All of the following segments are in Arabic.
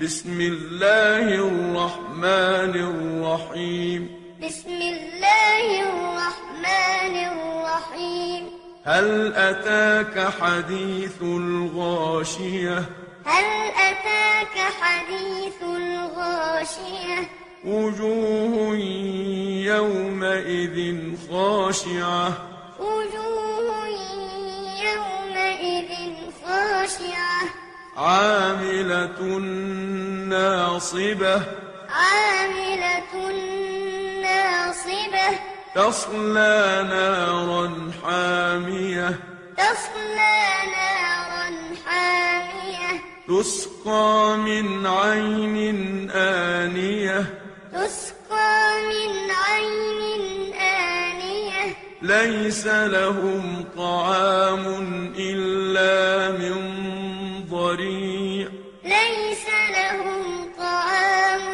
بسم الله الرحمن الرحيم بسم الله الرحمن الرحيم هل أتاك حديث الغاشية هل أتاك حديث الغاشية وجوه يومئذ خاشعة وجوه يومئذ خاشعة عاملة ناصبة عاملة ناصبة تصلى نارا حامية تصلى نارا حامية تسقى من عين آنية تسقى من عين آنية ليس لهم طعام إلا من ضريع ليس لهم طعام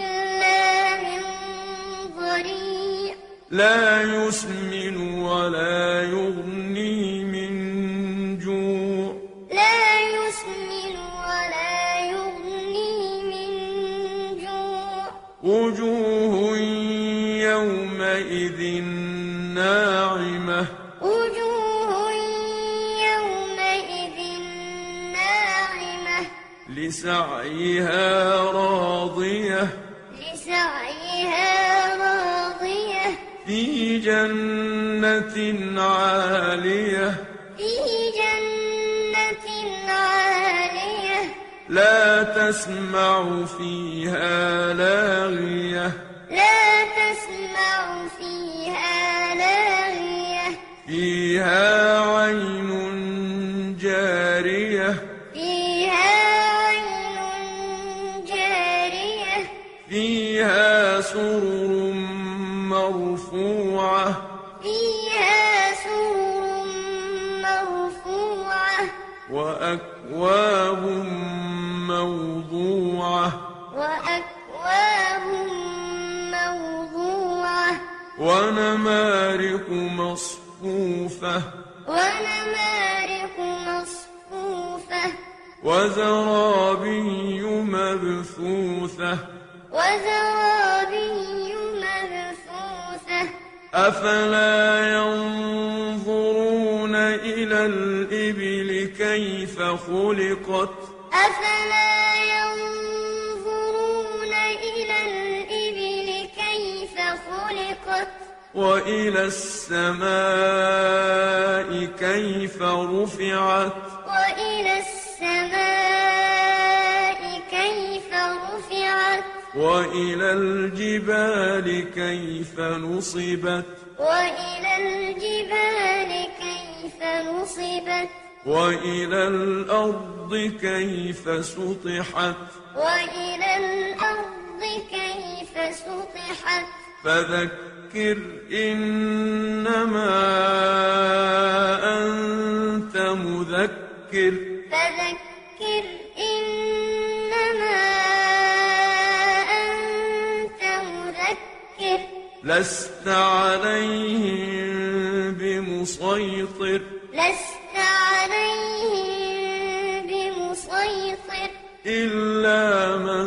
إلا من ضريع لا يسمن ولا يغني من جوع لا يسمن ولا يغني من جوع وجوه يومئذ ناعمة وجوه يومئذ ناعمة لسعيها راضية لسعيها راضية في جنة عالية في جنة عالية لا تسمع فيها لاغية لا تسمع فيها لاغية فيها عين جارية فيها عين جارية فيها سرر مرفوعة فيها سور مرفوعة وأكواب موضوعة وأكواب موضوعة ونمارق مصفوفة ونمارق مصفوفة وزرابي مبثوثة وزرابي مبثوثة أفلا ينظرون إلى الإبل كيف خلقت أفلا ينظرون إلى الإبل كيف خلقت وإلى السماء كيف رفعت وإلى السماء كيف رفعت وإلى الجبال كيف نصبت وإلى الجبال كيف نصبت وإلى الأرض كيف سطحت وإلى الأرض كيف سطحت فذكر إنما أنت مذكر فذكر إنما أنت مذكر لست عليهم بمسيطر لست عليهم بمسيطر إلا من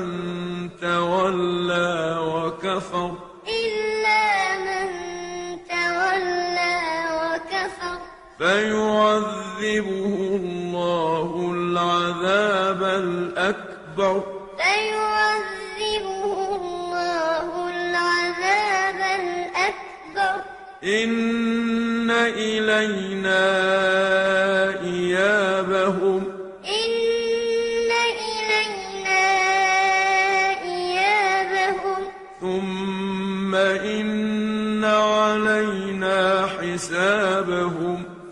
تولى وكفر إلا من تولى وكفر فيعذبه الله العذاب الأكبر فيعذبه الله العذاب الأكبر إن إلينا إيابهم إن إلينا إيابهم ثم إن علينا حسابهم